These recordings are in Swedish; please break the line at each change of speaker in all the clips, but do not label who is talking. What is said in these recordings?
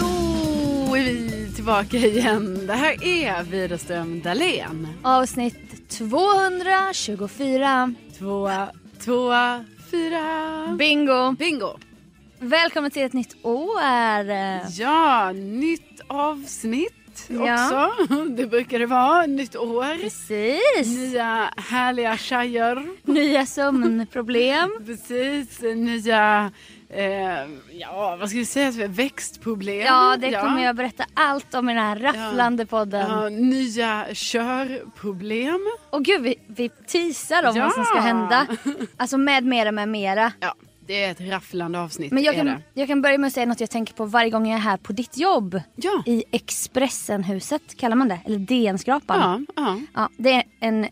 Då är vi tillbaka igen. Det här är Widerström Dahlén.
Avsnitt 224.
Två, två, fyra.
Bingo!
Bingo.
Välkommen till ett nytt år!
Ja, nytt avsnitt
Ja.
också. Det brukar det vara. Nytt år.
Precis!
Nya härliga tjejer.
Nya sömnproblem.
Precis. Nya, eh, ja vad ska vi säga, för växtproblem.
Ja, det kommer jag berätta allt om i den här rafflande
Ja,
podden.
nya körproblem.
Och gud, vi, vi teasar om
Ja.
vad som ska hända. Alltså med mera, med mera.
Ja, det är ett rafflande avsnitt.
Men jag
är
kan,
det.
jag kan börja med att säga något jag tänker på varje gång jag är här på ditt jobb.
Ja.
I Expressenhuset kallar man det, eller DN-skrapan.
Ja, ja.
Ja, det är en,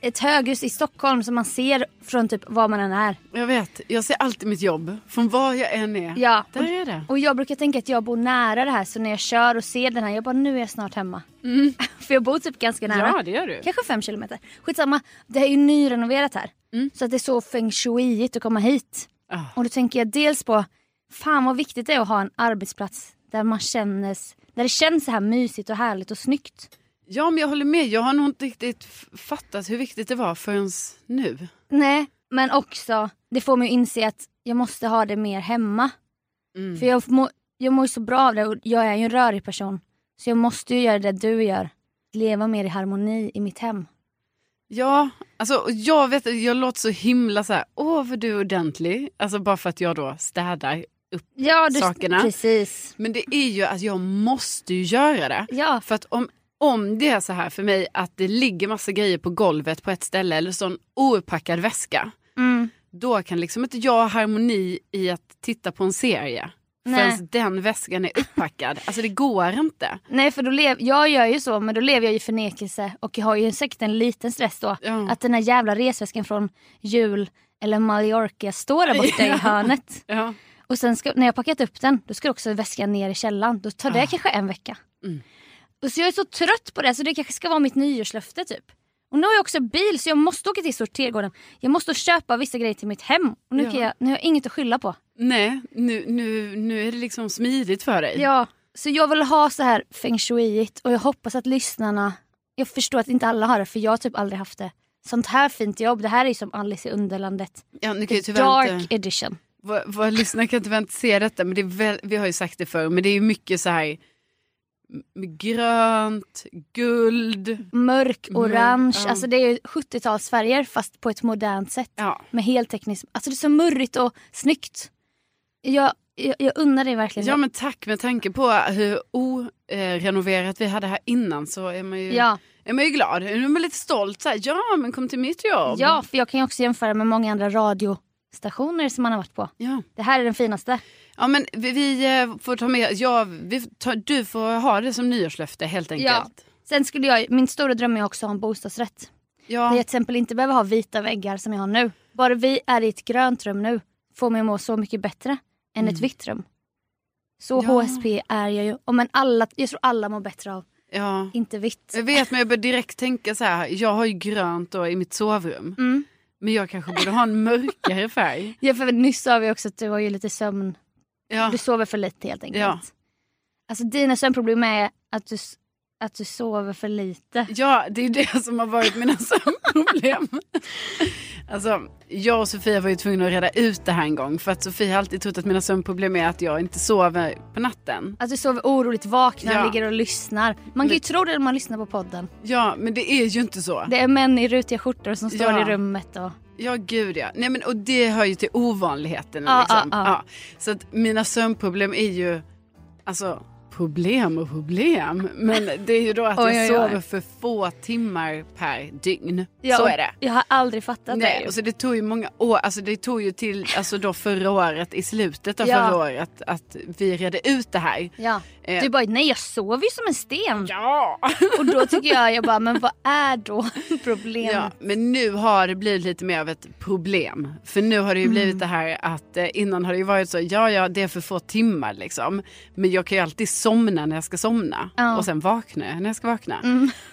ett höghus i Stockholm som man ser från typ var man än är.
Jag vet, jag ser alltid mitt jobb från var jag än är.
Ja.
Där är det.
Och jag brukar tänka att jag bor nära det här så när jag kör och ser den här, jag bara nu är jag snart hemma. För jag bor typ ganska nära.
Mm. Ja, det gör du.
Kanske fem kilometer. Skitsamma, det är ju nyrenoverat här. Så att det är så feng shuiigt att komma hit.
Mm. Ah.
Och då tänker jag dels på, fan vad viktigt det är att ha en arbetsplats där man känns, där det känns så här mysigt och härligt och snyggt.
Ja, men jag håller med. Jag har nog inte riktigt f- fattat hur viktigt det var förrän nu.
Nej, men också det får mig att inse att jag måste ha det mer hemma.
Mm.
För jag, må, jag mår ju så bra av det och jag är ju en rörig person. Så jag måste ju göra det du gör. Leva mer i harmoni i mitt hem.
Ja, alltså och jag vet jag låter så himla så här, åh vad du är ordentlig. Alltså bara för att jag då städar upp.
Ja,
du- Sakerna.
Precis.
Men det är ju att jag måste ju göra det.
Ja,
För att om, om det är så här för mig att det ligger massa grejer på golvet på ett ställe eller sån ouppackad väska.
mm.
då kan liksom inte jag ha harmoni i att titta på en serie.
Nej.
Förrän den väskan är upppackad. Alltså det går inte.
Nej, för då lev, jag gör ju så, men då lever jag i förnekelse och jag har ju säkert en liten stress då.
Ja.
Att den här jävla resväskan från jul eller Mallorca står där borta i hörnet.
Ja.
Och sen ska, när jag packat upp den, då ska också väskan ner i källaren. Då tar det
Ah.
kanske en vecka.
Mm.
Och så jag är så trött på det, så det kanske ska vara mitt nyårslöfte typ. Och nu har jag också bil så jag måste åka till sortergården. Jag måste köpa vissa grejer till mitt hem. Och nu,
Ja.
kan jag, nu har jag inget att skylla på.
Nej, nu, nu, nu är det liksom smidigt för dig.
Ja, så jag vill ha så här feng shuiigt och jag hoppas att lyssnarna... Jag förstår att inte alla har det för jag har typ aldrig haft det. Sånt här fint jobb, det här är ju som Alice i Underlandet.
Ja, nu kan
The
ju tyvärr
dark
inte,
edition.
våra, våra lyssnare kan tyvärr inte se detta, men det är väl, vi har ju sagt det förr, men det är ju mycket så här m- grönt, guld. Mörk,
Mörk, orange,
Mm. ja.
alltså det är ju 70-talsfärger fast på ett modernt sätt.
Ja.
Med helteknisk... Alltså det är så murrigt och snyggt. Jag, jag, jag unnar dig verkligen
ja,
det.
men tack. Med tanke på hur orenoverat vi hade här innan så är man ju,
ja,
är man ju glad. Nu är man lite stolt. Så här, ja, men kom till mitt jobb.
ja, för jag kan ju också jämföra med många andra radiostationer som man har varit på.
ja.
Det här är den finaste.
Ja men vi, vi eh, får ta med, ja, vi tar, du får ha det som nyårslöfte helt enkelt.
Sen skulle jag, min stora dröm är också att ha en bostadsrätt. Där jag till
Ja,
exempel inte behöver ha vita väggar som jag har nu. Bara vi är i ett grönt rum nu får mig att må så mycket bättre än ett vitt rum. Så
Mm. Ja.
HSP är jag ju. Och men alla, jag tror alla mår bättre av
ja.
inte vitt.
Jag vet men jag började direkt tänka så här. Jag har ju grönt då i mitt sovrum.
Mm.
Men jag kanske borde ha en mörkare färg.
Ja, för nyss sa vi också att du har ju lite sömn.
Ja.
Du sover för lite helt enkelt.
Ja.
Alltså dina sömnproblem är att du, s- att du sover för lite.
Ja, det är det som har varit mina sömnproblem. Alltså, jag och Sofia var ju tvungna att reda ut det här en gång för att Sofia har alltid trott att mina sömnproblem är att jag inte sover på natten.
Att du sover oroligt, vaknar,
Ja.
ligger och lyssnar. Man kan ju tro det när man lyssnar på podden.
Ja, men det är ju inte så.
Det är män i rutiga skjortor som står
Ja.
i rummet och...
Ja, gud ja. Nej, men, och det hör ju till ovanligheterna.
Ja,
liksom.
ja, ja.
Ja. Så att mina sömnproblem är ju... Alltså, problem och problem. Men det är ju då att
Oj,
jag
oj, oj.
sover för få timmar per dygn.
Ja,
så
och
är det.
Jag har aldrig fattat det.
Nej, alltså,
ju.
och så det tog ju många år, alltså det tog ju till alltså då förra året, i slutet av
Ja.
förra året, att vi redde ut det här.
Ja.
Eh.
Du bara, nej jag sover ju som en sten.
Ja!
Och då tycker jag, jag bara, men vad är då problemet?
Ja, men nu har det blivit lite mer av ett problem. För nu har det
Mm.
ju blivit det här att eh, innan har det ju varit så, ja ja det är för få timmar liksom. Men jag kan ju alltid somna när jag ska somna
Ja. Mm,
och sen vakna jag när jag ska vakna.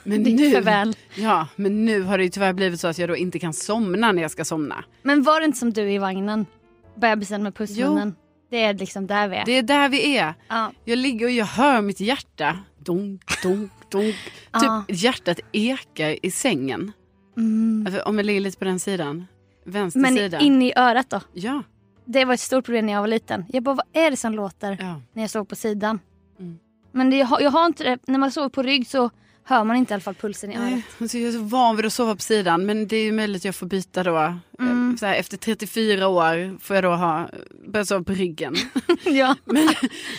Men
det gick för väl.
Ja, men nu har det ju tyvärr blivit så att jag då inte kan somna när jag ska somna.
Men var det inte som du i vagnen? Bebisen med pussmunnen. Det är liksom där vi är.
Det är där vi är.
Ja.
Jag ligger och jag hör mitt hjärta. Dunk, dunk, dunk.
Ja.
Typ hjärtat ekar i sängen. Alltså, Om jag ligger lite på den sidan. Vänster
Mm. Men
sida.
in i örat då?
Ja.
Det var ett stort problem när jag var liten. Jag bara, vad är det som låter
ja. Mm.
när jag såg på sidan? Men det, jag, har, jag har inte det. När man sover på rygg så hör man inte i alla fall pulsen i örat.
Nej, alltså jag är så van vid att sova på sidan men det är ju möjligt att jag får byta då. Eh,
Mm.
Så här, efter 34 år får jag då ha, börja sova på ryggen.
ja.
men,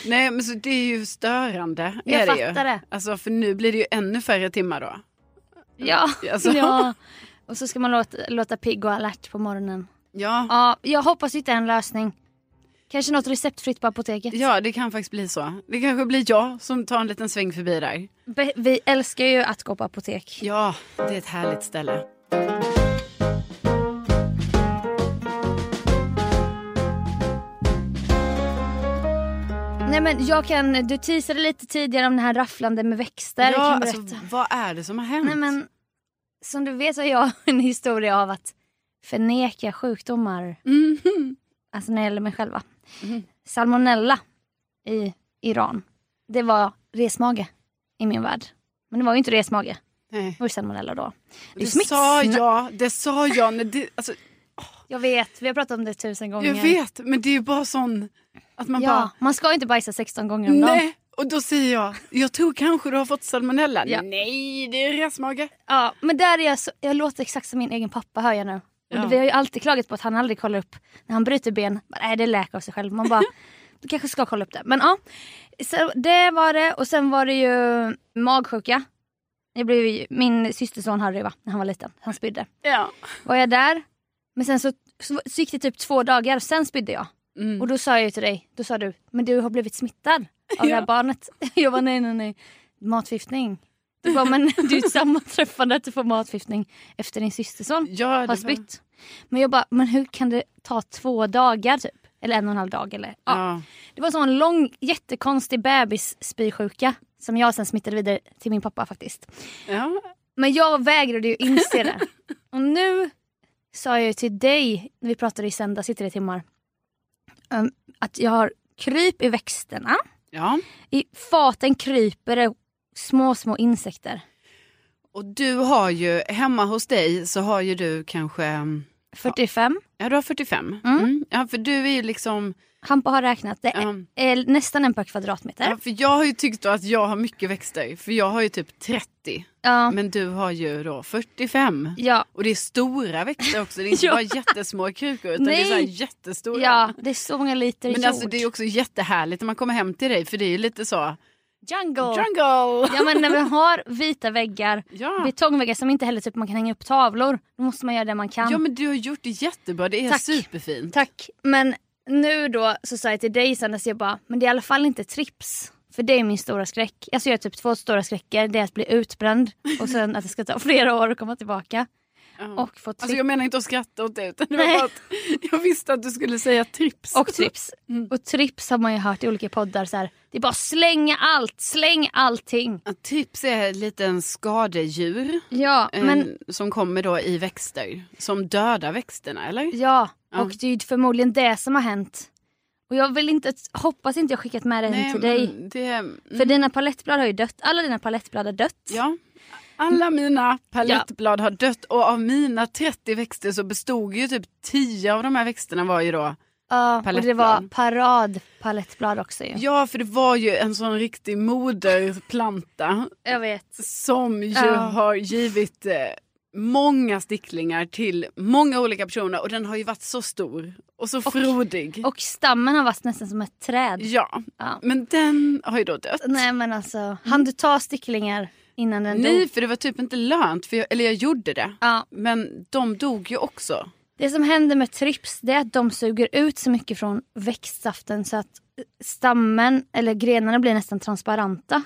nej men så det är ju störande.
Jag
är det ju.
fattar det.
Alltså för nu blir det ju ännu färre timmar då.
Ja.
Alltså.
ja. Och så ska man låta, låta pigg och alert på morgonen.
Ja.
Ja, jag hoppas hitta en lösning. Kanske något receptfritt på apoteket.
ja, det kan faktiskt bli så. Det kanske blir jag som tar en liten sväng förbi där.
Be- vi älskar ju att gå på apotek.
Ja, det är ett härligt ställe.
Nej men jag kan, du teasade lite tidigare om det här rafflande med växter.
ja,
jag kan
alltså,
berätta.
vad är det som har hänt?
Nej men, som du vet så har jag en historia av att förneka sjukdomar.
Mm-hmm.
Alltså när det gäller mig själva. Salmonella i Iran. Det var resmage i min värld. Men det var ju inte resmage,
Nej.
det var ju salmonella då. Det är
Det
som ett
sa
sna-
jag, det sa jag. När det, alltså,
Jag vet, vi har pratat om det tusen gånger.
jag vet, men det är ju bara sån... Att man bara...
Ja, man ska ju inte bajsa 16 gånger om dagen.
Nej, och då säger jag, jag tror kanske du har fått salmonella.
Ja.
Nej, det är resmage.
Ja, men där är jag så, jag låter exakt som min egen pappa hör jag nu. Och
Ja.
Vi har ju alltid klagat på att han aldrig kollar upp när han bryter ben. Bara, Nej, det läker av sig själv. Man bara, du kanske ska kolla upp det. Men ja, så det var det. Och sen var det ju magsjuka. Jag blev, ju- min systerson Harry va, när han var liten. Han spydde.
Ja.
Var jag där. Men sen så, så, så gick det typ två dagar, sen spydde jag.
Mm.
Och då sa jag ju till dig, då sa du, men du har blivit smittad av det här barnet. Jag bara nej nej nej, matförgiftning. Du bara men det är ju ett sammanträffande att du får matförgiftning efter din systerson
Ja, det
har
var-
spytt. Men jag bara, men hur kan det ta två dagar typ? Eller en och en halv dag eller? Ja.
Ja.
Det var en sån lång jättekonstig bebisspysjuka som jag sen smittade vidare till min pappa faktiskt.
ja.
Men jag vägrade ju inse det. Och nu sa jag ju till dig, när vi pratade i söndags i tre timmar, ehm, att jag har kryp i växterna.
Ja.
I faten kryper det små, små insekter.
Och du har ju, hemma hos dig så har ju du kanske,
45.
ja du har 45. Mm. Ja, för du är ju liksom,
Hampa har räknat. Det är,
Ja.
är nästan en per kvadratmeter.
ja, för jag har ju tyckt då att jag har mycket växter, för jag har ju typ 30.
Ja.
Men du har ju då 45.
Ja.
Och det är stora växter också, det är inte
Ja.
bara jättesmå krukor utan det är så här
Nej.
jättestora.
ja, det är så många liter
Men
jord.
alltså det är också jättehärligt när man kommer hem till dig för det är ju lite så
Jungle.
Jungle!
Ja men när vi har vita väggar,
Ja.
betongväggar som inte heller typ man kan hänga upp tavlor, då måste man göra det man kan.
Ja men du har gjort det jättebra, det är
Tack.
superfint.
Tack. Men nu då så sa jag till dig sen, så jag bara, men det är i alla fall inte trips. För det är min stora skräck. Alltså jag har typ två stora skräcker. Det är att bli utbränd och sen att det ska ta flera år att komma tillbaka. Och få
Alltså
trips.
jag menar inte att skratta åt det utan det var
Nej.
bara att jag visste att du skulle säga trips.
Och trips.
Mm.
Och trips har man ju hört i olika poddar. Så här, det är bara slänga allt, släng allting.
Ja, Trips är en liten skadedjur
Ja,
eh,
men
som kommer då i växter. Som dödar växterna eller?
Ja,
Ja.
och det är ju förmodligen det som har hänt. Och jag vill inte, hoppas inte jag skickat med det hem till dig.
men Det, mm,
För dina palettblad har ju dött, alla dina palettblad har dött.
ja. Alla mina palettblad har dött och av mina 30 växter så bestod ju typ 10 av de här växterna var ju då
Ja, och det
Palettblad.
var parad palettblad också ju.
Ja för det var ju en sån riktig moderplanta
Jag vet.
som ju
Ja.
har givit eh, många sticklingar till många olika personer och den har ju varit så stor och så frodig.
Och stammen har varit nästan som ett träd.
ja,
Ja.
men den har ju då dött.
Nej men alltså, hann du ta sticklingar innan den
Nej
dog?
för det var typ inte lönt, för jag, eller jag gjorde det.
Ja.
Men de dog ju också.
Det som händer med trips det är att de suger ut så mycket från växtsaften så att stammen eller grenarna blir nästan transparenta.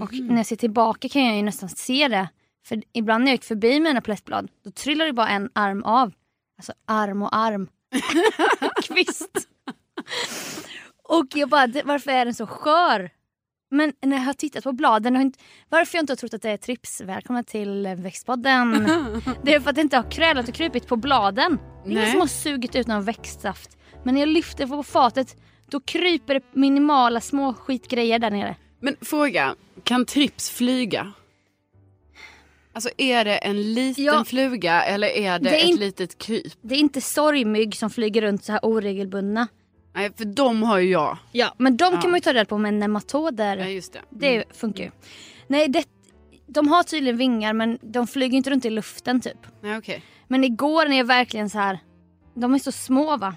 Och när jag ser tillbaka kan jag ju nästan se det. För ibland när jag gick förbi mina plättblad då trillar det bara en arm av. Alltså arm och arm. Kvist. och jag bara, "Det- varför är den så skör? Men när jag har tittat på bladen, har inte, varför jag inte har trott att det är trips. Välkomna till eh, växtpodden. det är för att det inte har krälat och krupit på bladen. Det är ingen
Nej.
som har sugit ut någon växtsaft. Men när jag lyfter på fatet då kryper det minimala små skitgrejer där nere.
Men fråga, kan trips flyga? Alltså är det en liten
Ja.
fluga eller är det,
Det är
ett
in-
litet kryp?
Det är inte sorgmygg som flyger runt så här oregelbundna.
Nej för de har ju jag.
Ja. Men de
Ja.
kan man ju ta reda på med nematoder.
Ja Mm. just det.
Det funkar ju. Nej, det, de har tydligen vingar men de flyger inte runt i luften typ.
Mm. Nej okej.
Men igår när jag verkligen så här, de är så små va.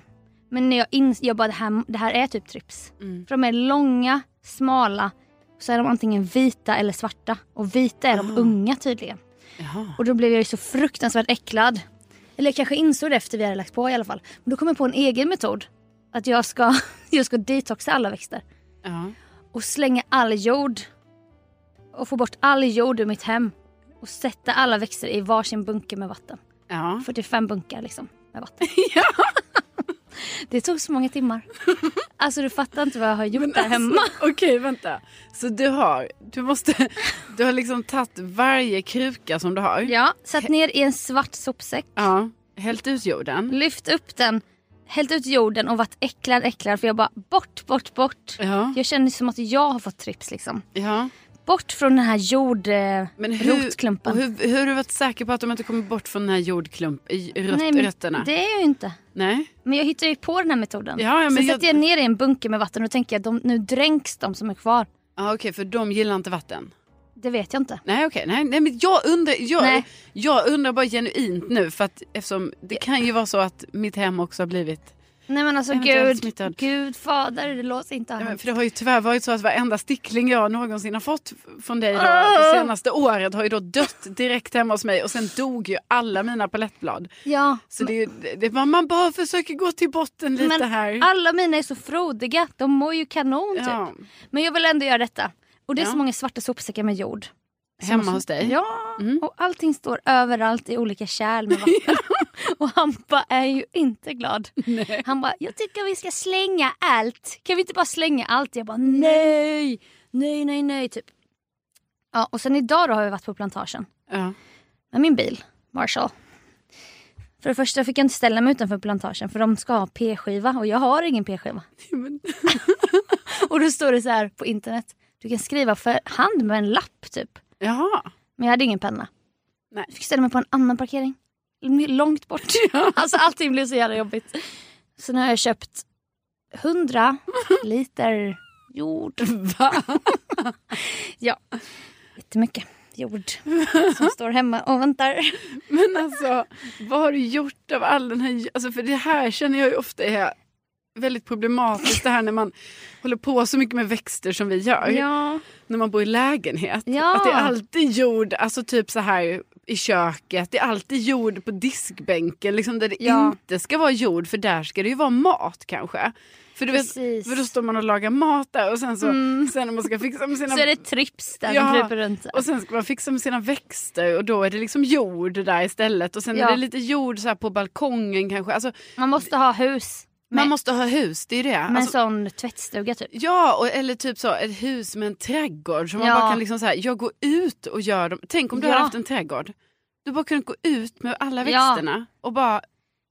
Men när jag insåg, jag bara det här, det här är typ trips. För de är långa, smala, så är de antingen vita eller svarta. Och vita är de unga tydligen.
Jaha.
Och då blev jag ju så fruktansvärt äcklad. Eller jag kanske insåg det efter vi hade lagt på i alla fall. Men då kom jag på en egen metod. Att jag ska, jag ska detoxa alla växter.
Ja.
Och slänga all jord. Och få bort all jord ur mitt hem. Och sätta alla växter i varsin bunke med vatten.
Ja.
45 bunkar liksom med vatten. Det tog så många timmar. Alltså du fattar inte vad jag har gjort där hemma.
Alltså, Okej vänta. Så du har, du måste, du har liksom tagit varje kruka som du har.
Ja, satt ner i en svart sopsäck.
Ja. Hällt ut jorden.
Lyft upp den, hällt ut jorden och varit äcklad äcklad för jag bara bort, bort, bort.
Ja.
Jag känner som att jag har fått trips liksom.
Ja.
Bort från den här jord, eh,
Men hur,
rotklumpen.
och hur, hur har du varit säker på att de inte kommer bort från den här jordklumpen, röt,
Nej, men
rötterna?
det är jag ju inte.
Nej.
Men jag hittade ju på den här metoden.
Ja, ja, men
Sen
jag-
satte jag ner i en bunke med vatten och tänkte jag de, nu dränks de som är kvar.
Ja, okej, för de gillar inte vatten.
Det vet jag inte.
Nej, okej. Nej, nej, men jag undrar, jag,
Nej.
jag undrar bara genuint nu, för att eftersom det kan ju vara så att mitt hem också har blivit...
Nej men alltså
Eventuellt
gud,
smittad.
gud fader, det låter inte ha
Nej, men
hänt.
För det har ju tyvärr varit så att varenda stickling jag någonsin har fått från dig då,
Ah!
det senaste året har ju då dött direkt hemma hos mig och sen dog ju alla mina palettblad.
Ja,
Så det är ju, det, det, man bara försöker gå till botten lite
men
här.
alla mina är så frodiga, de mår ju kanon
Ja.
typ. Men jag vill ändå göra detta. Och det är
Ja. Mm.
så många svarta sopsäckar med jord. alltså-
Hemma hos dig?
Ja, och allting står överallt i olika kärl med vatten. och Hampa är ju inte glad. Han bara, jag tycker vi ska slänga allt. Kan vi inte bara slänga allt? Jag bara, nej, nej, nej, nej, typ. Ja, och sen idag då har vi varit på plantagen
Ja.
med min bil, Marshall. För det första fick jag inte ställa mig utanför plantagen för de ska ha p-skiva och jag har ingen p-skiva. och då står det så här på internet, du kan skriva för hand med en lapp typ.
Jaha.
Men jag hade ingen penna.
Nej.
Jag fick ställa mig på en annan parkering. L- Långt bort. Alltså allting blev så jävla jobbigt. Så nu har jag köpt 100 liter jord. Va? ja, jättemycket jord som står hemma och väntar.
Men alltså, vad har du gjort av all den här... Alltså för det här känner jag ju ofta är väldigt problematiskt. Det här när man håller på så mycket med växter som vi gör.
Ja.
när man bor i lägenhet.
Ja.
Att det är alltid jord, alltså typ så här i köket, det är alltid jord på diskbänken liksom där det
Ja.
inte ska vara jord för där ska det ju vara mat kanske. För, du vet,
Precis. Mm.
för då står man och lagar mat där och sen så sen när man ska fixa med sina
Så är det trips där
Ja,
de kryper runt.
och sen ska man fixa med sina växter och då är det liksom jord där istället. Och sen
Ja.
är det lite jord så här på balkongen kanske. Alltså,
Man måste ha hus.
man
Med-
måste ha hus, det är ju det.
Med en
Alltså,
sån tvättstuga typ.
Ja, och, eller typ så ett hus med en trädgård. Så man
Ja.
bara kan liksom så här, jag går ut och gör dem. Tänk om du
Ja.
hade haft en trädgård. Du bara kunde gå ut med alla
Ja.
växterna och bara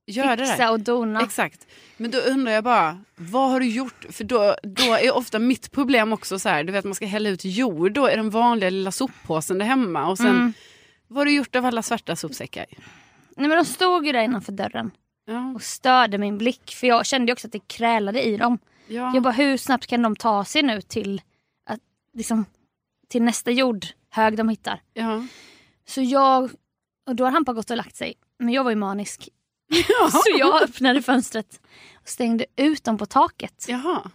göra det
Fixa
där.
och dona.
Exakt. Men då undrar jag bara, vad har du gjort? För då, då är ofta mitt problem också så här, du vet man ska hälla ut jord då i den vanliga lilla soppåsen där hemma. Och sen,
Mm.
vad har du gjort av alla svarta sopsäckar?
Nej men de stod ju där innanför dörren
Ja,
och störde min blick. För jag kände ju också att det krälade i dem.
ja.
Jag bara hur snabbt kan de ta sig nu till, att, liksom, till nästa jordhög de hittar.
ja.
Så jag, och då har Hampa gått och lagt sig. Men jag var ju manisk. Så jag öppnade fönstret och stängde ut dem på taket
Jaha.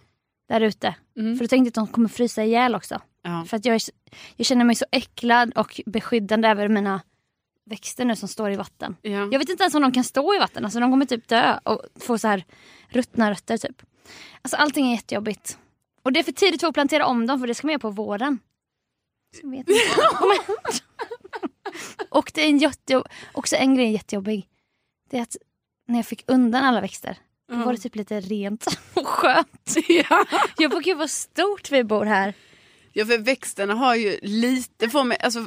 där ute. För då tänkte jag att de kommer frysa ihjäl också.
Ja.
För att jag, är s- jag känner mig så äcklad och beskyddande över mina växter nu som står i vatten.
Ja.
Jag vet inte ens om de kan stå i vatten. Alltså de kommer typ dö och få så här ruttna rötter typ. Alltså allting är jättejobbigt. Och det är för tidigt att plantera om dem för det ska man göra på våren. Så jag vet inte. och det är en jättejobb... också en grej är jättejobbig. Det är att när jag fick undan alla växter då var det typ lite rent och skönt.
Ja.
Jag bara gud vad stort vi bor här.
Ja för växterna har ju lite, får mig, alltså,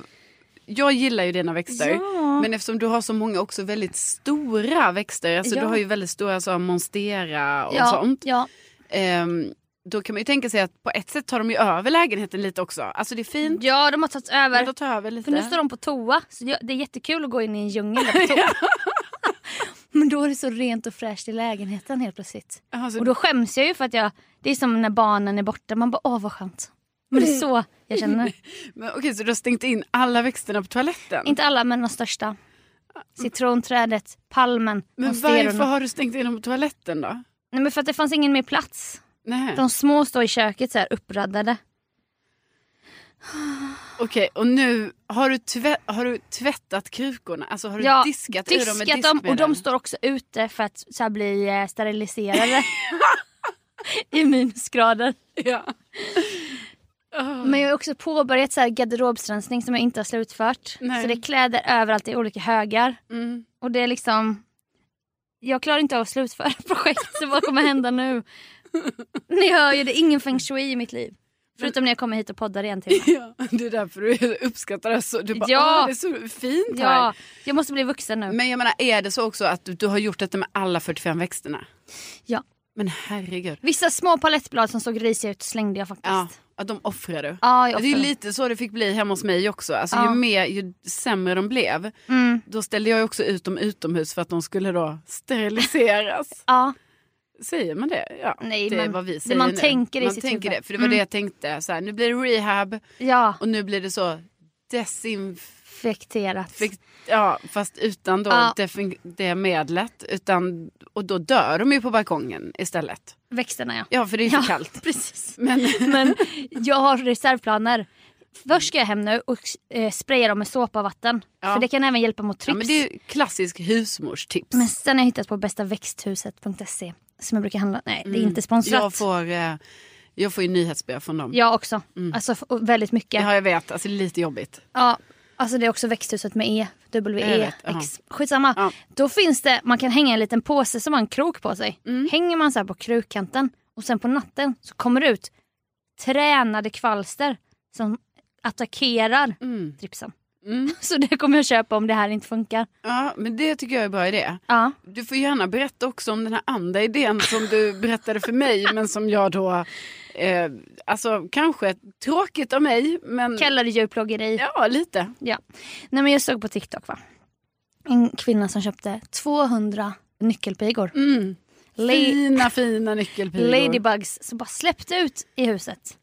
jag gillar ju dina växter.
Ja.
Men eftersom du har så många också väldigt stora växter, alltså
Ja.
du har ju väldigt stora så, här monstera och
ja,
sånt.
Ja.
Ehm, då kan man ju tänka sig att på ett sätt tar de ju över lägenheten lite också. Alltså det är fint,
ja de har tagits över.
men de tar över lite.
För nu står de på toa, så jag- det är jättekul att gå in i en djungel där på toa. Men då är det så rent och fräscht i lägenheten helt plötsligt.
Jaha, så-
Och då skäms jag ju för att jag, det är som när barnen är borta, man bara åh vad skönt. Men det är så jag känner.
men, okej, så du har stängt in alla växterna på toaletten?
Inte alla men de största. Citronträdet, palmen,
men varför
monsterorna.
har du stängt in dem på toaletten då?
Nej men för att det fanns ingen mer plats.
Nej.
De små står i köket så här uppraddade.
Okej, och nu har du, tvätt, har du tvättat krukorna? Alltså har du diskat, ur dem med
diskat dem och
diskmedel?
de står också ute för att så här bli eh, steriliserade. I minusgrader.
Ja.
Men jag har också påbörjat så här garderobsrensning som jag inte har slutfört.
Nej.
Så det är kläder överallt i olika högar.
Mm.
Och det är liksom... Jag klarar inte av att slutföra projekt så vad kommer hända nu? Ni hör ju, det är ingen feng shui i mitt liv. Förutom när jag kommer hit och poddar igen till
Ja, det är därför du uppskattar det så. Du bara,
Ja.
"Åh, det är så fint
Ja,
här.
jag måste bli vuxen nu.
Men jag menar, är det så också att du, du har gjort detta med alla 45 växterna?
Ja.
Men herregud.
Vissa små palettblad som såg risiga ut slängde jag faktiskt.
Ja, att de offrar du.
Ja, jag
det är ju
offrar.
lite så det fick bli hemma hos mig också. Alltså,
Ja. Mm.
ju, mer, ju sämre de blev, då ställde jag ju också ut dem utomhus för att de skulle då steriliseras.
Ja.
säger man det? Ja,
Nej,
det är
man-
vad vi
det
säger
man
nu.
tänker i
man
sitt
tänker
huvud. Mm.
det, För det var det jag tänkte, så här, nu blir det rehab
ja.
och nu blir det så desinf...
Infekterat.
Fick, ja, fast utan då
Ja.
defin- det medlet. Utan, och då dör de ju på balkongen istället.
Växterna ja.
Ja, för det är ju för kallt.
Precis.
Men,
Men jag har reservplaner. Först ska jag hem nu och eh, spraya dem med såpa och vatten.
Ja.
För det kan även hjälpa mot trips.
ja, men det är ju klassisk husmorstips.
Men sen har jag hittat på bästaväxthuset.se som jag brukar handla. Nej, det är inte sponsrat.
Mm. jag, får, eh, jag får ju nyhetsbrev från dem.
Jag också. Alltså f- och väldigt mycket.
Ja, jag vet. Alltså Mm. det är lite jobbigt.
Ja, alltså det är också växthuset med E,
Jag
W-E,
vet, ja.
X. Skitsamma.
Ja.
Då finns det, man kan hänga en liten påse som har en krok på sig.
Mm.
Hänger man så här på krukkanten och sen på natten så kommer det ut tränade kvalster som attackerar
Mm.
tripsen. Så det kommer jag köpa om det här inte funkar.
Ja, men det tycker jag är en bra idé.
Ja.
Du får gärna berätta också om den här andra idén som du berättade för mig men som jag då, eh, alltså kanske tråkigt av mig men
Kallar det djurplågeri.
ja lite.
Ja. Nej, men jag såg på TikTok va? en kvinna som köpte 200 nyckelpigor.
Mm.
La-
Fina fina nyckelpigor.
ladybugs som bara släppte ut i huset.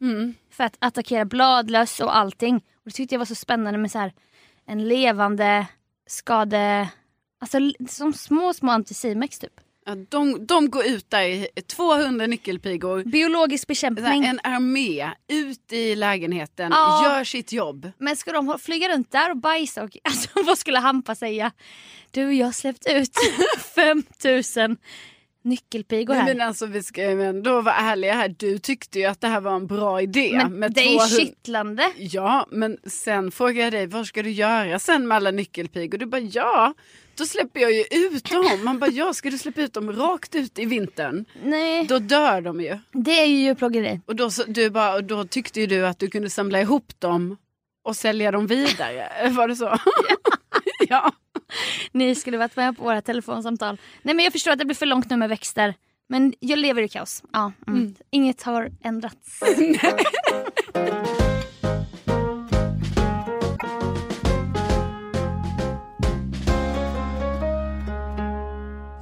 För att attackera bladlöss och allting. Och det tyckte jag var så spännande med så här, en levande skade... Alltså l- som små små antisimex typ.
Ja, de, de går ut där i 200 nyckelpigor.
Biologisk
Så
bekämpning.
här, En armé ut i lägenheten,
Ja.
gör sitt jobb.
Men ska de ha- flyga runt där och bajsa? Och, alltså, vad skulle Hampa säga? Du, jag har släppt ut 5000 nyckelpigor här.
Men alltså vi ska ju ändå vara ärliga här, du tyckte ju att det här var en bra idé.
Men
med
det är ju
200
kittlande.
Ja, men sen frågar jag dig, vad ska du göra sen med alla nyckelpigor? Du bara, ja, då släpper jag ju ut dem. Man bara, ja, ska du släppa ut dem rakt ut i vintern?
Nej,
Då dör de ju.
det är ju djurplågeri.
Och då, så- du bara, och då tyckte ju du att du kunde samla ihop dem och sälja dem vidare. Var det så? ja.
Ni skulle varit med på våra telefonsamtal. Nej men jag förstår att det blir för långt nu med växter. Men jag lever i kaos. Ja, mm. Inget har ändrats.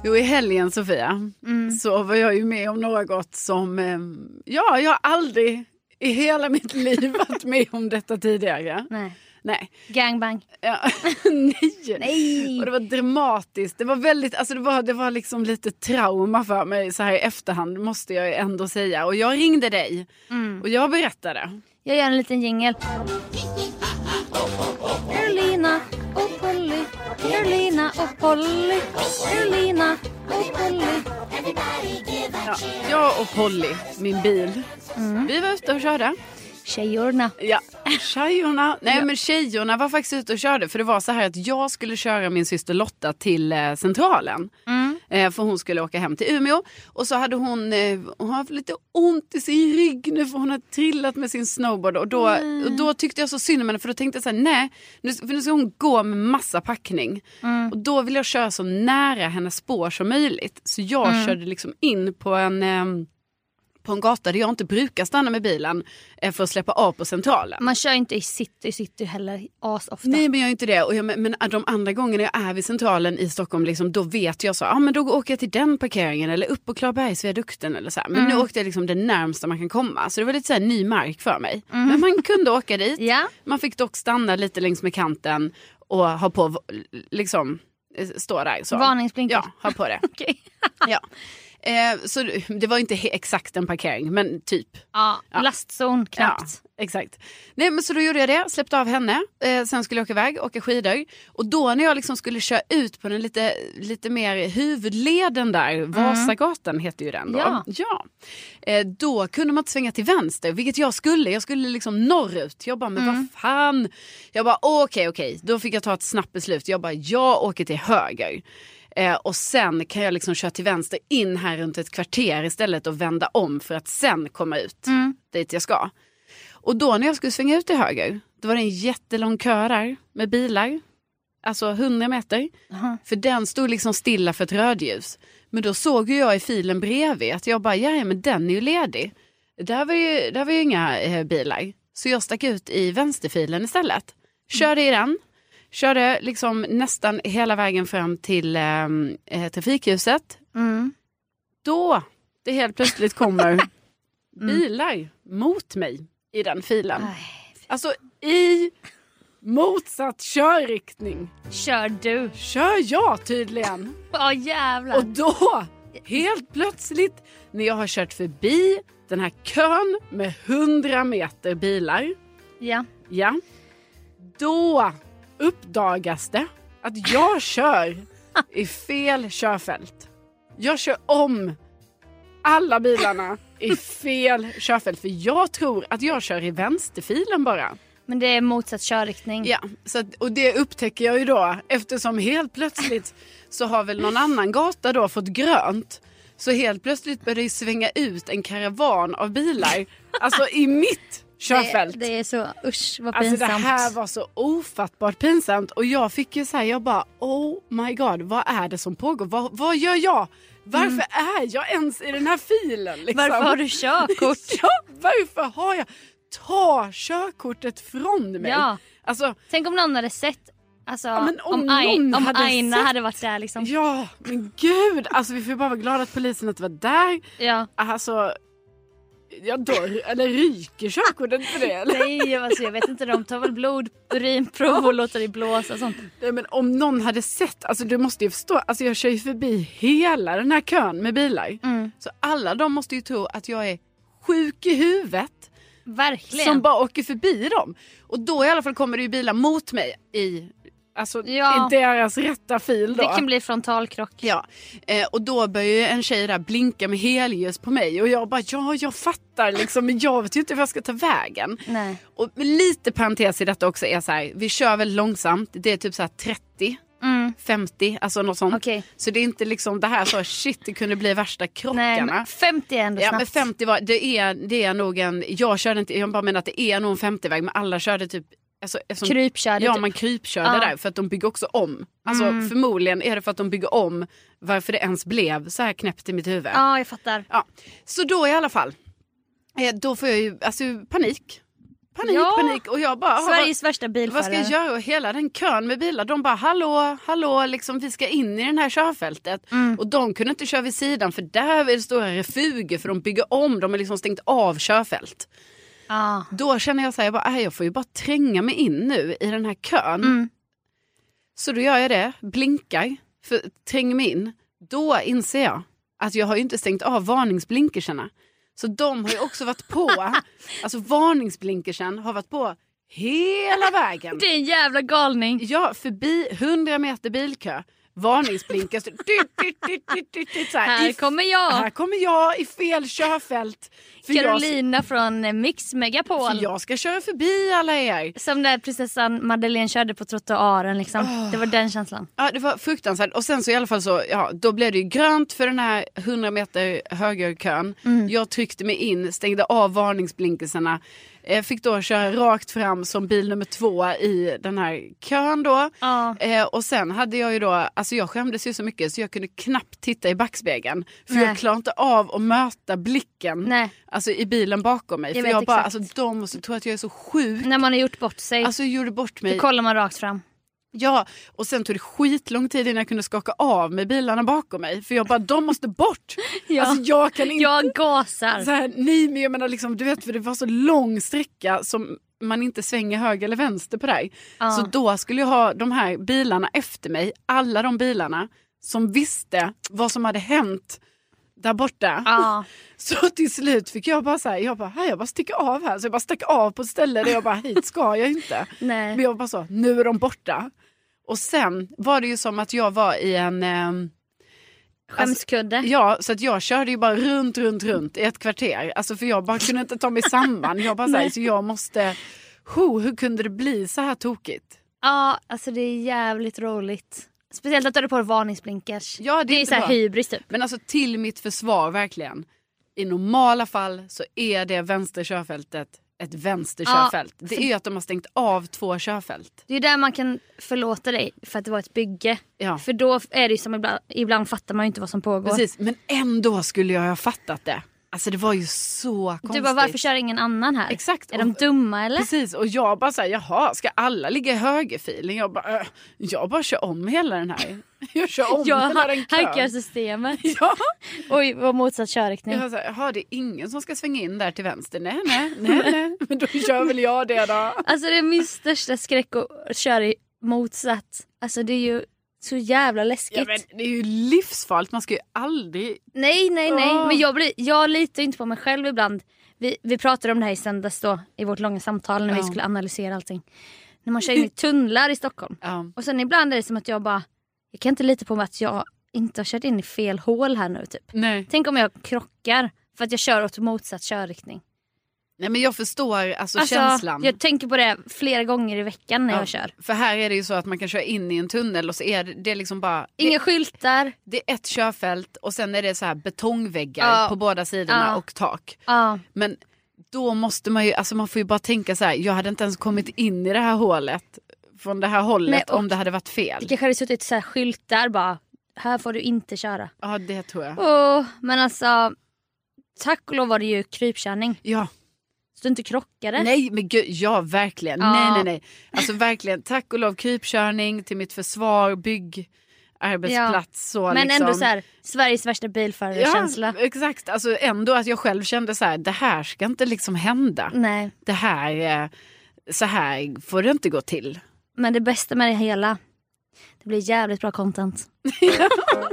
Jo, i helgen Sofia så var jag ju med om något som, eh, ja, jag har aldrig i hela mitt liv varit med om detta tidigare.
Nej.
Nej.
Gangbang.
Ja, nej.
Nej.
Och det var dramatiskt. Det var väldigt, alltså det var, det var liksom lite trauma för mig så här i efterhand måste jag ju ändå säga. Och jag ringde dig och jag berättade.
Jag gör en liten jingel. Carolina och Polly. Carolina och Polly. Carolina och Polly.
Ja, jag och Polly, min bil, vi var ute och körde.
Tjejorna.
Ja. Tjejorna, nej men tjejorna var faktiskt ute och körde för det var så här att jag skulle köra min syster Lotta till eh, centralen. Eh, för hon skulle åka hem till Umeå och så hade hon, eh, hon har haft lite ont i sin rygg nu för hon har trillat med sin snowboard och då, och då tyckte jag så synd om henne för då tänkte jag så här nej nu, för nu ska hon gå med massa packning och då vill jag köra så nära hennes spår som möjligt så jag körde liksom in på en ehm, på en gata där jag inte brukar stanna med bilen eh, för att släppa av på centralen.
Man kör inte i city, i city heller asofta.
Nej men jag är inte det. Och jag, men men de andra gångerna jag är vid centralen i Stockholm liksom, då vet jag så, ja ah, men då åker jag till den parkeringen eller upp på Klarabergsviadukten eller så här. Men nu åkte jag liksom det närmsta man kan komma. Så det var lite så här ny mark för mig. Men man kunde åka dit.
Ja.
Man fick dock stanna lite längs med kanten och ha på v- liksom eh, stå där. Så.
Varningsblinkers.
Ja, ha på det.
Okej.
ja. Eh, så det- det var inte he- exakt en parkering men typ.
Ja, Lastzon knappt.
Ja, exakt. Nej, men så då gjorde jag det, släppte av henne. Eh, sen skulle jag åka iväg, åka skidor. Och då när jag liksom skulle köra ut på den lite, lite mer huvudleden där, Vasagatan heter ju den då.
Ja.
ja. Eh, då kunde man inte svänga till vänster, vilket jag skulle. Jag skulle liksom norrut. Jag bara, men vad fan. Jag bara, okej, okej. Då fick jag ta ett snabbt beslut. Jag bara, jag åker till höger. Eh, och sen kan jag liksom köra till vänster in här runt ett kvarter istället och vända om för att sen komma ut dit jag ska. Och då när jag skulle svänga ut till höger, då var det en jättelång kö där med bilar. Alltså 100 meter. För den stod liksom stilla för ett rödljus. Men då såg ju jag i filen bredvid att jag bara, ja ja, men den är ju ledig. Där var ju, där var ju inga eh, bilar. Så jag stack ut i vänsterfilen istället. Körde i den. Körde liksom nästan hela vägen fram till eh, eh, trafikhuset. Då det helt plötsligt kommer bilar mot mig i den filen.
Äh,
Alltså i motsatt körriktning
Kör du.
kör jag tydligen.
Ja jävlar.
Och då, helt plötsligt, när jag har kört förbi den här kön med 100 meter bilar,
ja.
ja, då uppdagas det att jag kör i fel körfält. Jag kör om alla bilarna i fel körfält för jag tror att jag kör i vänsterfilen bara.
Men det är motsatt körriktning.
Ja, så att, och det upptäcker jag ju då eftersom helt plötsligt så har väl någon annan gata då fått grönt. Så helt plötsligt börjar det ju svänga ut en karavan av bilar, alltså i mitt körfält.
Det, det är så, usch vad
Alltså
pinsamt.
det här var så ofattbart pinsamt och jag fick ju så här, jag bara oh my god, vad är det som pågår? Vad, vad gör jag? Varför är jag ens i den här filen? Liksom?
Mm. Varför har du körkort?
Ja, varför har jag? Ta körkortet från mig!
Ja.
Alltså,
Tänk om någon hade sett, alltså,
men om
om, Ai-
någon
om
hade
Aina
sett-
hade varit där liksom. Ja.
Ja, men gud! Alltså vi får ju bara vara glada att polisen inte var där. Alltså, Ja, dör, eller ryker körkortet för det? Eller?
Nej, alltså, jag vet inte. De tar väl blod, urinprov och låter dig blåsa och sånt.
Nej, men om någon hade sett, alltså du måste ju förstå, alltså jag kör ju förbi hela den här kön med bilar.
Mm.
Så alla de måste ju tro att jag är sjuk i huvudet
Verkligen.
som bara åker förbi dem. Och då i alla fall kommer det ju bilar mot mig i, alltså,
Ja.
i deras rätta fil då.
Vilken blir frontalkrock?
Ja, eh, och då börjar ju en tjej där blinka med helljus på mig och jag bara ja, jag fattar liksom men jag vet ju inte vart jag ska ta vägen.
Nej.
Och lite parentes i detta också är så här, vi kör väldigt långsamt, det är typ så här 30, 50, alltså något sånt.
Mm. Okej.
Så det är inte liksom det här så shit det kunde bli värsta
Nej,
krockarna.
men 50 är ändå
Ja men
snabbt.
50 var, det är, det är nog en, jag körde inte, jag bara menar att det är nog en 50-väg men alla körde typ alltså, eftersom-
Krypkörde
Ja
typ.
man krypkörde
Ja. Mm.
där för att de bygger också om. Alltså förmodligen är det för att de bygger om varför det ens blev så här knäppt i mitt huvud.
Ja, jag fattar.
Ja. Så då i alla fall, eh, då får jag ju alltså, panik. Panik,
Ja.
panik och jag bara... "Aha,
Sveriges värsta bilförare.
vad ska jag göra? Och hela den kön med bilar, de bara hallå, hallå, liksom, vi ska in i det här körfältet. Och de kunde inte köra vid sidan för där är det stora refuger för de bygger om, de har liksom stängt av körfält.
Ja.
Då känner jag så här, jag, bara, "Aj, jag får ju bara tränga mig in nu i den här kön. Så då gör jag det, blinkar, för, tränger mig in. Då inser jag att jag har ju inte stängt av varningsblinkerserna. Så de har ju också varit på, alltså varningsblinkersen har varit på hela vägen.
Det är en jävla galning.
Ja, förbi 100 meter bilkö, varningsblinkers, dyrt, dyrt, dyrt, dyrt, dyrt, dyrt, så här,
Här
i-
kommer jag.
Här kommer jag i fel körfält. För jag,
Carolina från eh, Mix Megapol.
för jag ska köra förbi alla er.
Som när prinsessan Madeleine körde på trottoaren liksom.
Ah.
Det var den känslan.
Ja, det var fruktansvärt. Och sen så i alla fall så, ja, då blev det ju grönt för den här 100 meter högerkön.
Mm.
Jag tryckte mig in, stängde av varningsblinkerserna. Eh, fick då köra rakt fram som bil nummer två i den här kön då.
Ja.
Eh, och sen hade jag ju då, alltså jag skämdes ju så mycket så jag kunde knappt titta i backspegeln. För
Nej.
jag klarade inte av att möta blicken
Nej.
alltså i bilen bakom mig.
Jag
för
vet
jag bara,
exakt.
alltså de måste tro att jag är så sjuk.
När man har gjort bort sig.
Alltså jag gjorde bort mig.
då kollar man rakt fram.
Ja, och sen tog det skitlång tid innan jag kunde skaka av mig bilarna bakom mig. För jag bara, de måste bort!
Ja.
Alltså jag kan inte...
Jag gasar.
Så här, nej men jag menar liksom, du vet för det var så lång sträcka som man inte svänger höger eller vänster på dig.
Ja.
Så då skulle jag ha de här bilarna efter mig, alla de bilarna som visste vad som hade hänt där borta.
Ja.
Så till slut fick jag bara så här, jag bara, här, jag bara sticker av här. Så jag bara stack av på ett ställe där jag bara, hit ska jag inte.
Nej.
Men jag bara så, nu är de borta. Och sen var det ju som att jag var i en, ehm,
Skämskudde.
ja så att jag körde ju bara runt, runt, runt i ett kvarter. Alltså för jag bara kunde inte ta mig samman. Jag bara så, här,
Nej.
så jag måste, ho, hur kunde det bli så här tokigt?
Ja, alltså det är jävligt roligt. Speciellt att du hade på dig varningsblinkers.
Ja, det är
det är
inte
så här
bra.
hybris typ.
Men alltså till mitt försvar verkligen. I normala fall så är det vänsterkörfältet ett vänsterkörfält. Det är ju att de har stängt av två körfält.
Det är ju där man kan förlåta dig för att det var ett bygge.
Ja.
För då är det ju som ibland, ibland fattar man ju inte vad som pågår.
Precis, men ändå skulle jag ha fattat det. Alltså det var ju så konstigt.
Du bara varför kör ingen annan här?
Exakt.
Är de
Och-
dumma eller?
Precis, och jag bara såhär, jaha, ska alla ligga i högerfilen? Jag bara, "Äh, jag bara kör om hela den här. Jag kör om
Jag
hela den
hackar
kön.
systemet.
Ja.
Oj, vad motsatt körriktning.
Jag var så här, jaha, det är ingen som ska svänga in där till vänster. Nej, nej, nej, nej. Men då kör väl jag det då.
Alltså det är min största skräck att köra i motsatt. Alltså det är ju så jävla läskigt.
Ja, men det är ju livsfarligt, man ska ju aldrig...
Nej, nej, nej.
Åh.
Men jag, blir, jag litar ju inte på mig själv ibland. Vi, vi pratade om det här i söndags då, i vårt långa samtal när vi
Ja.
skulle analysera allting. När man kör in i tunnlar i Stockholm.
Ja.
Och sen ibland är det som att jag bara, jag kan inte lita på mig att jag inte har kört in i fel hål här nu typ.
Nej.
Tänk om jag krockar för att jag kör åt motsatt körriktning.
nej, men jag förstår alltså, känslan.
Jag tänker på det flera gånger i veckan när
Ja,
jag kör.
För här är det ju så att man kan köra in i en tunnel och så är det, det är liksom bara...
Inga
det,
skyltar.
det är ett körfält och sen är det så här betongväggar
Ja.
på båda sidorna
Ja.
och tak.
Ja.
Men då måste man ju, alltså man får ju bara tänka så här, jag hade inte ens kommit in i det här hålet från det här hållet
Nej, och-
om det hade varit fel.
Det kanske hade suttit så här skyltar bara, här får du inte köra.
Ja, det tror jag.
Åh, men alltså, tack och lov var det ju krypkörning.
Ja.
Så du inte krockade.
Nej men gud, ja verkligen.
Ja.
Nej nej nej. Alltså verkligen, tack och lov krypkörning till mitt försvar, bygg. arbetsplats. Så,
Men
liksom.
ändå så här, Sveriges värsta bilförarkänsla.
Ja, exakt. Alltså ändå att jag själv kände så här, det här ska inte liksom hända.
Nej,
Det här, eh, så här får det inte gå till.
men det bästa med det hela, det blir jävligt bra content.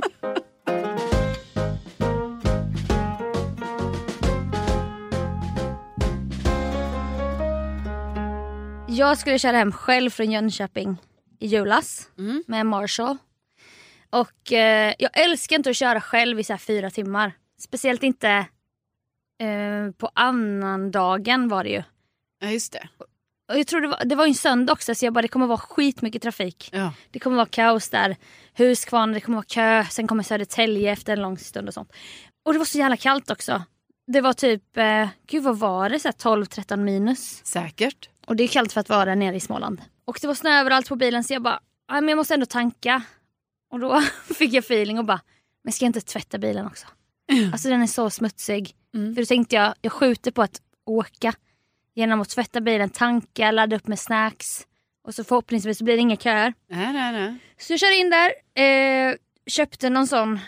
Jag skulle köra hem själv från Jönköping i julas med Marshall. Och eh, jag älskar inte att köra själv i så här fyra timmar. Speciellt inte eh, på annan dagen var det ju.
Ja, just det.
Och jag tror det var, det var ju en söndag också så jag bara det kommer vara skitmycket trafik.
Ja.
Det kommer vara kaos där. Huskvarna, det kommer vara kö. Sen kommer Södertälje efter en lång stund och sånt. Och det var så jävla kallt också. Det var typ, eh, gud vad var det? Så här 12-13 minus.
Säkert.
Och det är kallt för att vara nere i Småland. Och det var snö överallt på bilen så jag bara, "Aj, men jag måste ändå tanka. Och då fick jag feeling och bara, men ska jag inte tvätta bilen också? Alltså den är så smutsig. För då tänkte jag, jag skjuter på att åka. Genom att tvätta bilen, tanka, ladda upp med snacks. Och så förhoppningsvis blir det inga köer.
Nej, nej, nej.
Så jag körde in där, eh, köpte någon sån.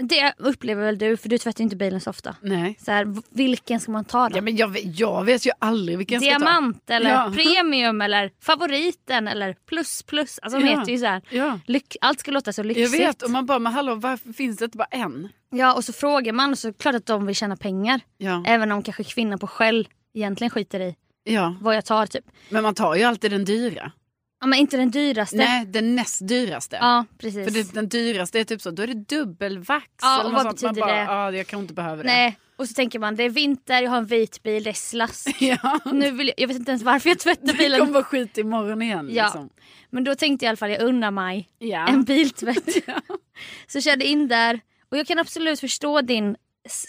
Det upplever väl du, för du tvättar ju inte bilen så ofta.
nej.
Så här, v- vilken ska man ta då?
Ja, men jag, vet- jag vet ju aldrig vilken jag ska ta.
Diamant eller
Ja.
premium eller favoriten eller plus plus. Alltså de
Ja.
heter ju så här.
Ja.
Lyx, allt ska låta så
Jag
lyxigt.
vet, och man bara, men hallå, varför finns det inte bara en?
Ja och så frågar man och så är det klart att de vill tjäna pengar.
Ja.
Även om kanske kvinnan på Shell egentligen skiter i
ja,
vad jag tar typ.
men man tar ju alltid den dyra.
Ja men inte den dyraste.
Nej, den näst dyraste.
Ja precis.
För det, den dyraste är typ så, då är det dubbelvax.
Ja,
eller
och
något
vad
sånt. Man
betyder
bara,
det?
Ja, jag kan inte behöva det.
Nej. Och så tänker man det är vinter, jag har en vit bil, det är slask.
Ja.
Nu vill jag, jag vet inte ens varför jag tvättar
Det kommer
bilen.
vara skit imorgon igen.
Ja.
Liksom.
Men då tänkte jag i alla fall jag unnar mig
Ja.
en biltvätt. Så körde in där och jag kan absolut förstå din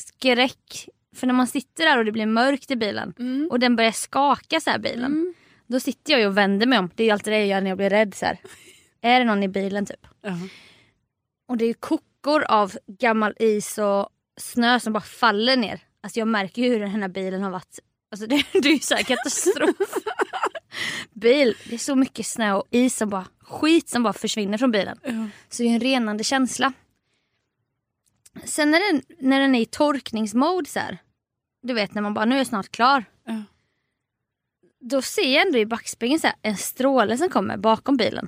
skräck. För när man sitter där och det blir mörkt i bilen
Mm.
och den börjar skaka så här bilen. Då sitter jag ju och vänder mig om. Det är ju alltid det jag gör när jag blir rädd. Så här. är det någon i bilen typ?
Ja.
Och det är ju kokor av gammal is och snö som bara faller ner. Alltså jag märker ju hur den här bilen har varit. Alltså det, det är ju så här katastrof. Bil, det är så mycket snö och is som bara, skit som bara försvinner från bilen. Så det är en renande känsla. Sen när den, när den är i torkningsmode så här. Du vet när man bara, nu är jag snart klar.
Ja.
Då ser jag ändå i backspegeln så här, en stråle som kommer bakom bilen.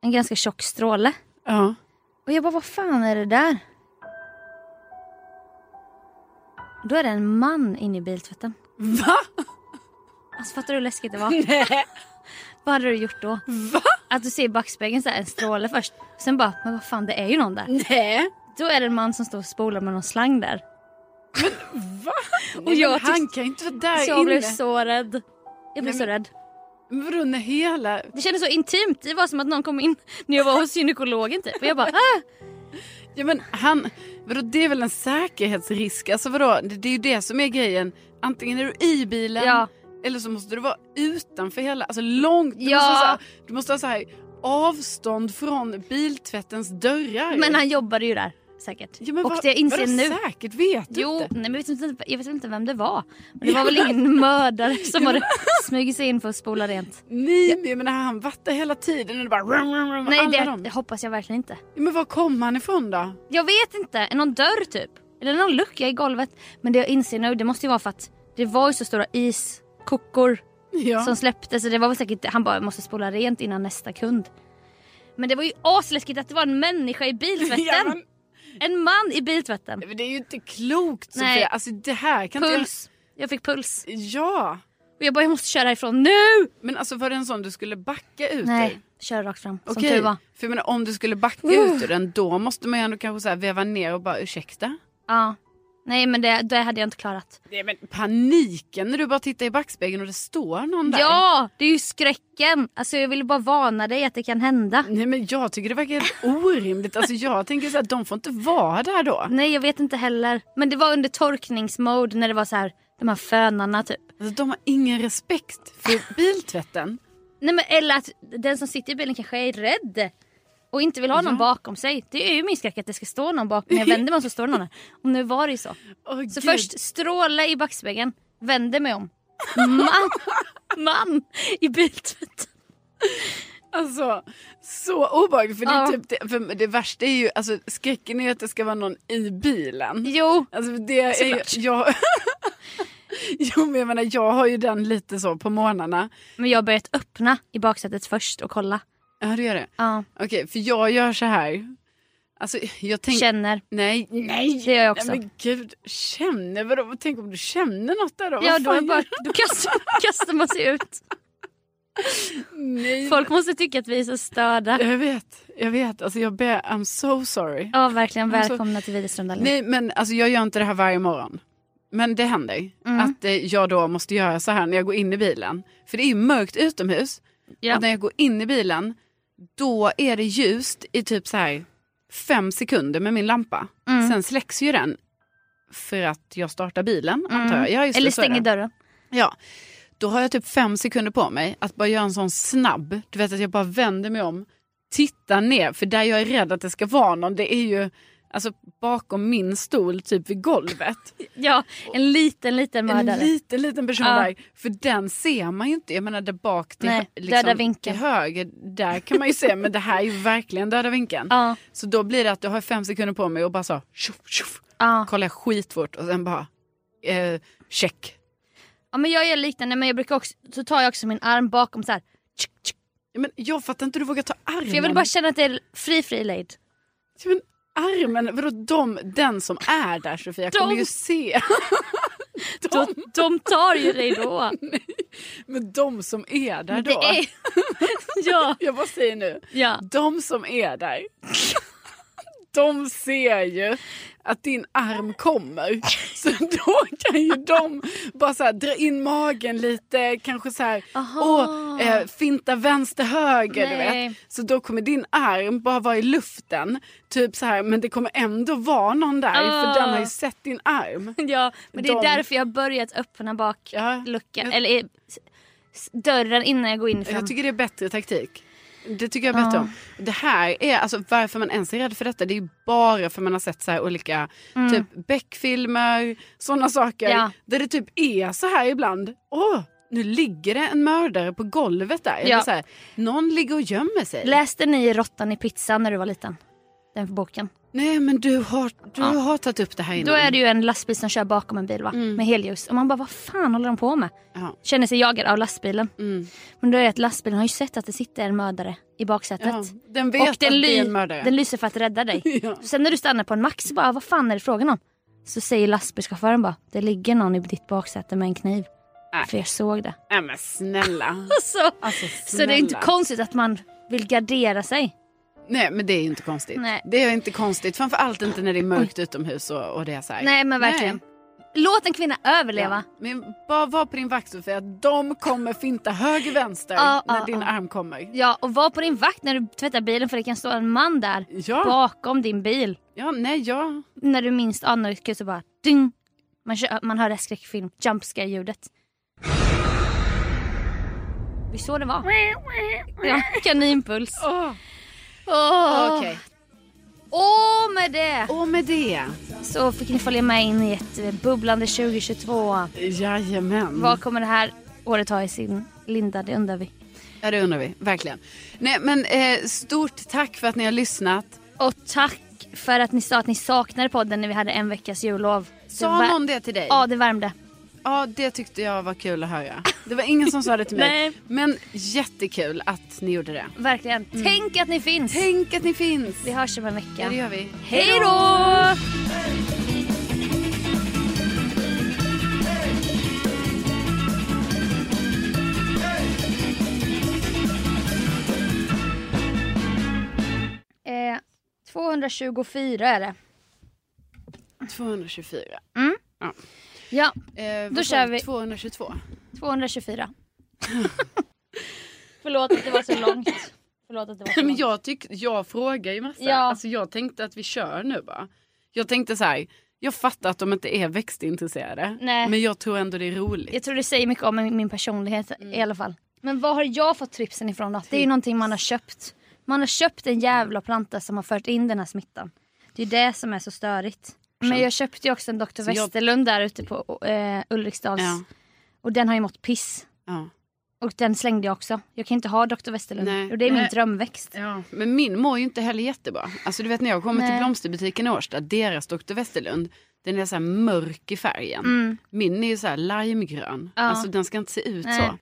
En ganska tjock stråle.
Ja.
Och jag bara, vad fan är det där? Då är det en man inne i biltvätten.
Va?
Alltså fattar du hur läskigt det var? Nej. Vad hade du gjort då?
Va?
Att du ser i backspegeln så här, en stråle först. Sen bara, men vad fan det är ju någon där.
Nej.
Då är det en man som står och spolar med någon slang där.
Och jag
jag
men han
tyckte-
kan ju inte vara där
Så jag
inne.
blev så rädd. Jag blev
Nej,
så
men-
rädd.
Men vadå när hela...
Det kändes så intimt. Det var som att någon kom in när jag var hos gynekologen typ. Och jag bara, ah!
Ja men han... Vadå det är väl en säkerhetsrisk? Alltså vadå, det, det är ju det som är grejen. Antingen är du i bilen
Ja.
eller så måste du vara utanför hela, alltså långt. Du
Ja.
måste, så här, du måste ha så här avstånd från biltvättens dörrar.
"Ah!" Men han jobbade ju där säkert.
Ja, men
och
vad-
det jag inser
vadå
nu.
säkert vet du
Jo, nej,
inte?
men jag, vet inte, jag vet inte vem det var. Men det var väl ingen mördare som hade smugit sig in för att spola rent.
Nej men jag menar, han varit där hela tiden och det bara... Rum, rum, rum,
Nej,
alla
det,
dem.
det hoppas jag verkligen inte.
Ja, Men var kom han ifrån då?
Jag vet inte, någon dörr typ. Eller någon lucka i golvet. Men det jag inser nu, det måste ju vara för att det var ju så stora iskokor
Ja.
som släpptes. Så det var väl säkert, han bara måste spola rent innan nästa kund. Men det var ju asläskigt att det var en människa i biltvätten.
Ja, men-
En man i biltvätten.
Men Det är ju inte klokt Sofia.
Nej.
Alltså det här kan
Puls. Jag fick puls.
inte jag... Ja.
Och jag bara, jag måste köra härifrån nu!
Men alltså var det en sån du skulle backa ut
Nej,
ur?
kör rakt fram. Som
Okej.
tur var.
För jag menar, om du skulle backa ut ur den då måste man ju ändå kanske så här veva ner och bara ursäkta.
Ja. Nej men det, det hade jag inte klarat.
Nej men paniken när du bara tittar i backspegeln och det står någon där.
Ja! Det är ju skräcken! Alltså jag ville bara varna dig att det kan hända.
Nej men jag tycker det verkar helt orimligt. Alltså jag tänker så här, de får inte vara där då.
Nej jag vet inte heller. Men det var under torkningsmode när det var så här de här fönarna typ.
Alltså, de har ingen respekt för biltvätten.
Nej men eller att den som sitter i bilen kanske är rädd. Och inte vill ha någon bakom sig. Det är ju min skräck att det ska stå någon bakom. När jag vänder mig om så står det någon där. Och nu var det ju så.
Åh,
Så
Gud.
först stråla i backspegeln, vänder mig om. Man! Man! I biltvätten.
Alltså, så obehagligt. För det, är
Ja.
typ det, för det värsta är ju, alltså, skräcken är ju att det ska vara någon i bilen.
Jo,
Alltså det är ju,
Såklart.
jag, jo, men jag menar, jag har ju den lite så på morgnarna.
men jag har börjat öppna i baksätet först och kolla.
Ja, du gör det?
Ja,
Okej, för jag gör så här. Alltså, jag tänker...
känner.
Nej, nej.
Det gör jag också.
Nej, men gud, känner? Vadå? Tänk om du känner något där då?
Ja,
Vad
då, är
fan
bara,
gör-
då kastar, kastar man sig ut.
Nej,
Folk måste tycka att vi är så störda.
Jag vet, jag vet. Alltså jag ber, I'm so sorry.
Ja, verkligen.
Alltså,
Välkomna till Widerström Dahlin.
Nej, men alltså jag gör inte det här varje morgon. Men det händer
Mm.
att eh, jag då måste göra så här när jag går in i bilen. För det är ju mörkt utomhus.
Ja.
Och när jag går in i bilen, då är det ljust i typ så här fem sekunder med min lampa.
Mm.
Sen släcks ju den för att jag startar bilen, antar jag. Ja, just det,
Mm. Eller
så är
stänger
det.
dörren.
Ja. Då har jag typ fem sekunder på mig att bara göra en sån snabb, du vet att jag bara vänder mig om, tittar ner, för där jag är rädd att det ska vara någon, det är ju alltså bakom min stol, typ vid golvet.
Ja, en liten, liten
En
mördare.
liten, liten person
Ja.
där. För den ser man ju inte. Jag menar där bak till,
Nej,
hö-
döda
liksom, till
vinkeln.
höger, där kan man ju se. Men det här är ju verkligen döda vinkeln.
Ja.
Så då blir det att jag har fem sekunder på mig och bara så, tjoff, tjoff,
Ja.
kollar skitfort och sen bara, eh, check.
ja, men jag gör liknande. Men jag brukar också, så tar jag också min arm bakom så här. Tsk, tsk.
Ja, Men jag fattar inte hur du vågar ta armen.
För jag vill bara känna att det är fri, fri lejd.
Ja, Typ men armen, vadå de, den som är där Sofia
De.
kommer ju se.
De, de tar ju dig då.
Men de som är där
Det
då.
är... ja,
Jag bara säger nu.
ja.
De som är där, de ser ju att din arm kommer. Så då kan ju de bara så här, dra in magen lite, kanske så här, åh, eh, finta vänster höger. Du
Nej.
vet. Så då kommer din arm bara vara i luften, typ så här, men det kommer ändå vara någon där
Ah.
för den har ju sett din arm.
Ja, men det är
De-
därför jag har börjat öppna
Ja.
bakluckan. Eller eh, s- s- dörren innan jag går in.
Jag
fram.
tycker det är bättre taktik. Det tycker jag bättre om. Det här är, alltså varför man ens är rädd för detta, det är ju bara för man har sett så här olika typ Beck-filmer, sådana saker.
Mm. Ja.
Där det typ är så här ibland. Åh, nu ligger det en mördare på golvet där. Eller
Ja.
så här, någon ligger och gömmer sig.
Läste ni Råttan i pizzan när du var liten? Den boken.
Nej men du har, du har tagit upp det här innan.
Då är det ju en lastbil som kör bakom en bil va? med helljus. Och man bara, vad fan håller de på med?
Mm. Ja. Mm.
Känner sig jagad av lastbilen. Men då är det att lastbilen har ju sett att det sitter en mördare i baksätet.
Ja, den vet att det är
ly-
en mördare.
den lyser för att rädda dig.
Ja.
Sen när du stannar på en max, så bara, vad fan är det frågan om? Så säger lastbilschauffören bara, det ligger någon i ditt baksäte med en kniv.
Nej.
För jag såg det.
Nej men snälla.
Så,
Alltså,
så det är inte
snälla.
konstigt att man vill gardera sig.
Nej men det är ju inte konstigt.
Nej.
Det är inte konstigt, framförallt inte när det är mörkt utomhus och, och det är så här.
Nej men verkligen. Låt en kvinna överleva.
Ja, Men bara var på din vakt Sofia, de kommer finta höger vänster
Ja,
när
ja,
din
ja.
arm kommer.
Ja, och var på din vakt när du tvättar bilen för det kan stå en man där
Ja.
bakom din bil.
Ja, nej, ja.
När du minst anar det kan så bara ding. Man, kör, man hör det här skräckfilm, jump scare ljudet Vi så det var. Ja, kaninpuls.
Åh.
Åh.
Ah, Okej.
Åh, med det
Och med det,
så fick ni följa med in i ett eh, bubblande 2022.
jajamän.
Vad kommer det här året ha i sin linda? Det undrar vi.
Ja, det undrar vi, verkligen. Nej, men eh, stort tack för att ni har lyssnat.
Och tack för att ni sa att ni saknade podden när vi hade en veckas jullov.
Sa
var-
någon det till dig?
Ja, det värmde.
Ja, det tyckte jag var kul att höra. Det var ingen som sa det till mig.
Nej.
Men jättekul att ni gjorde det.
Verkligen. Tänk att ni finns.
Mm. Tänk att ni finns.
Vi hörs om en
Ja, det
vecka.
gör vi.
Hej då! Eh, 224 är det.
224.
Ja,
Eh,
Då
vad sa
kör
du?
vi.
222.
224. Förlåt att det var så långt. Förlåt att det var så
Men
långt.
jag, tyck, jag frågar ju massa.
Ja.
Alltså, jag tänkte att vi kör nu bara. Jag tänkte så här. Jag fattar att de inte är växtintresserade.
Nej.
Men jag tror ändå det är roligt.
Jag tror det säger mycket om min min personlighet i alla fall. Men var har jag fått tripsen ifrån då? Det är ju någonting man har köpt. Man har köpt en jävla planta som har fört in den här smittan. Det är ju det som är så störigt. Men jag köpte ju också en Dr.
jag-
Westerlund där ute på eh, Ulriksdals.
Ja.
Och den har ju mått piss.
Ja.
Och den slängde jag också. Jag kan inte ha Dr. Westerlund.
Nej.
Och det är min
Nej.
drömväxt.
Ja, men min mår ju inte heller jättebra. Alltså du vet när jag kommer
Nej.
till blomsterbutiken i Årsta, deras Dr. Westerlund, den är så här mörk i färgen.
Mm.
Min är ju så här limegrön. Alltså den ska inte se ut
Nej.
så.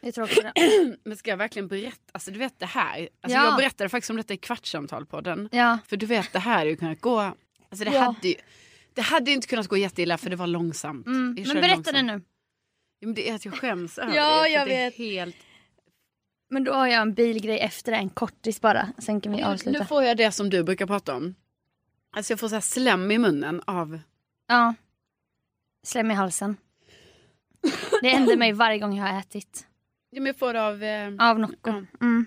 Jag tror också det.
Men ska jag verkligen berätta? Alltså du vet det här. Alltså,
Ja.
Jag berättade faktiskt om detta i Kvartsamtal på den.
Ja.
För du vet det här hade ju kunnat gå. Alltså det
Ja.
hade ju. Det hade ju inte kunnat gå jätteilla för det var långsamt.
Mm.
Jag
Men
körde
berätta
långsamt.
det nu.
Jo, men det är att jag skäms över
Ja,
det. för
jag
det är
vet.
Helt...
Men då har jag en bilgrej efter det, en kortis bara. Sen kan vi avsluta.
Nu får jag det som du brukar prata om. Alltså jag får så här slem i munnen av
Ja. Slem i halsen. Det händer mig varje gång jag har ätit.
Ja, men jag får av... Eh...
Av Nocco. Mm.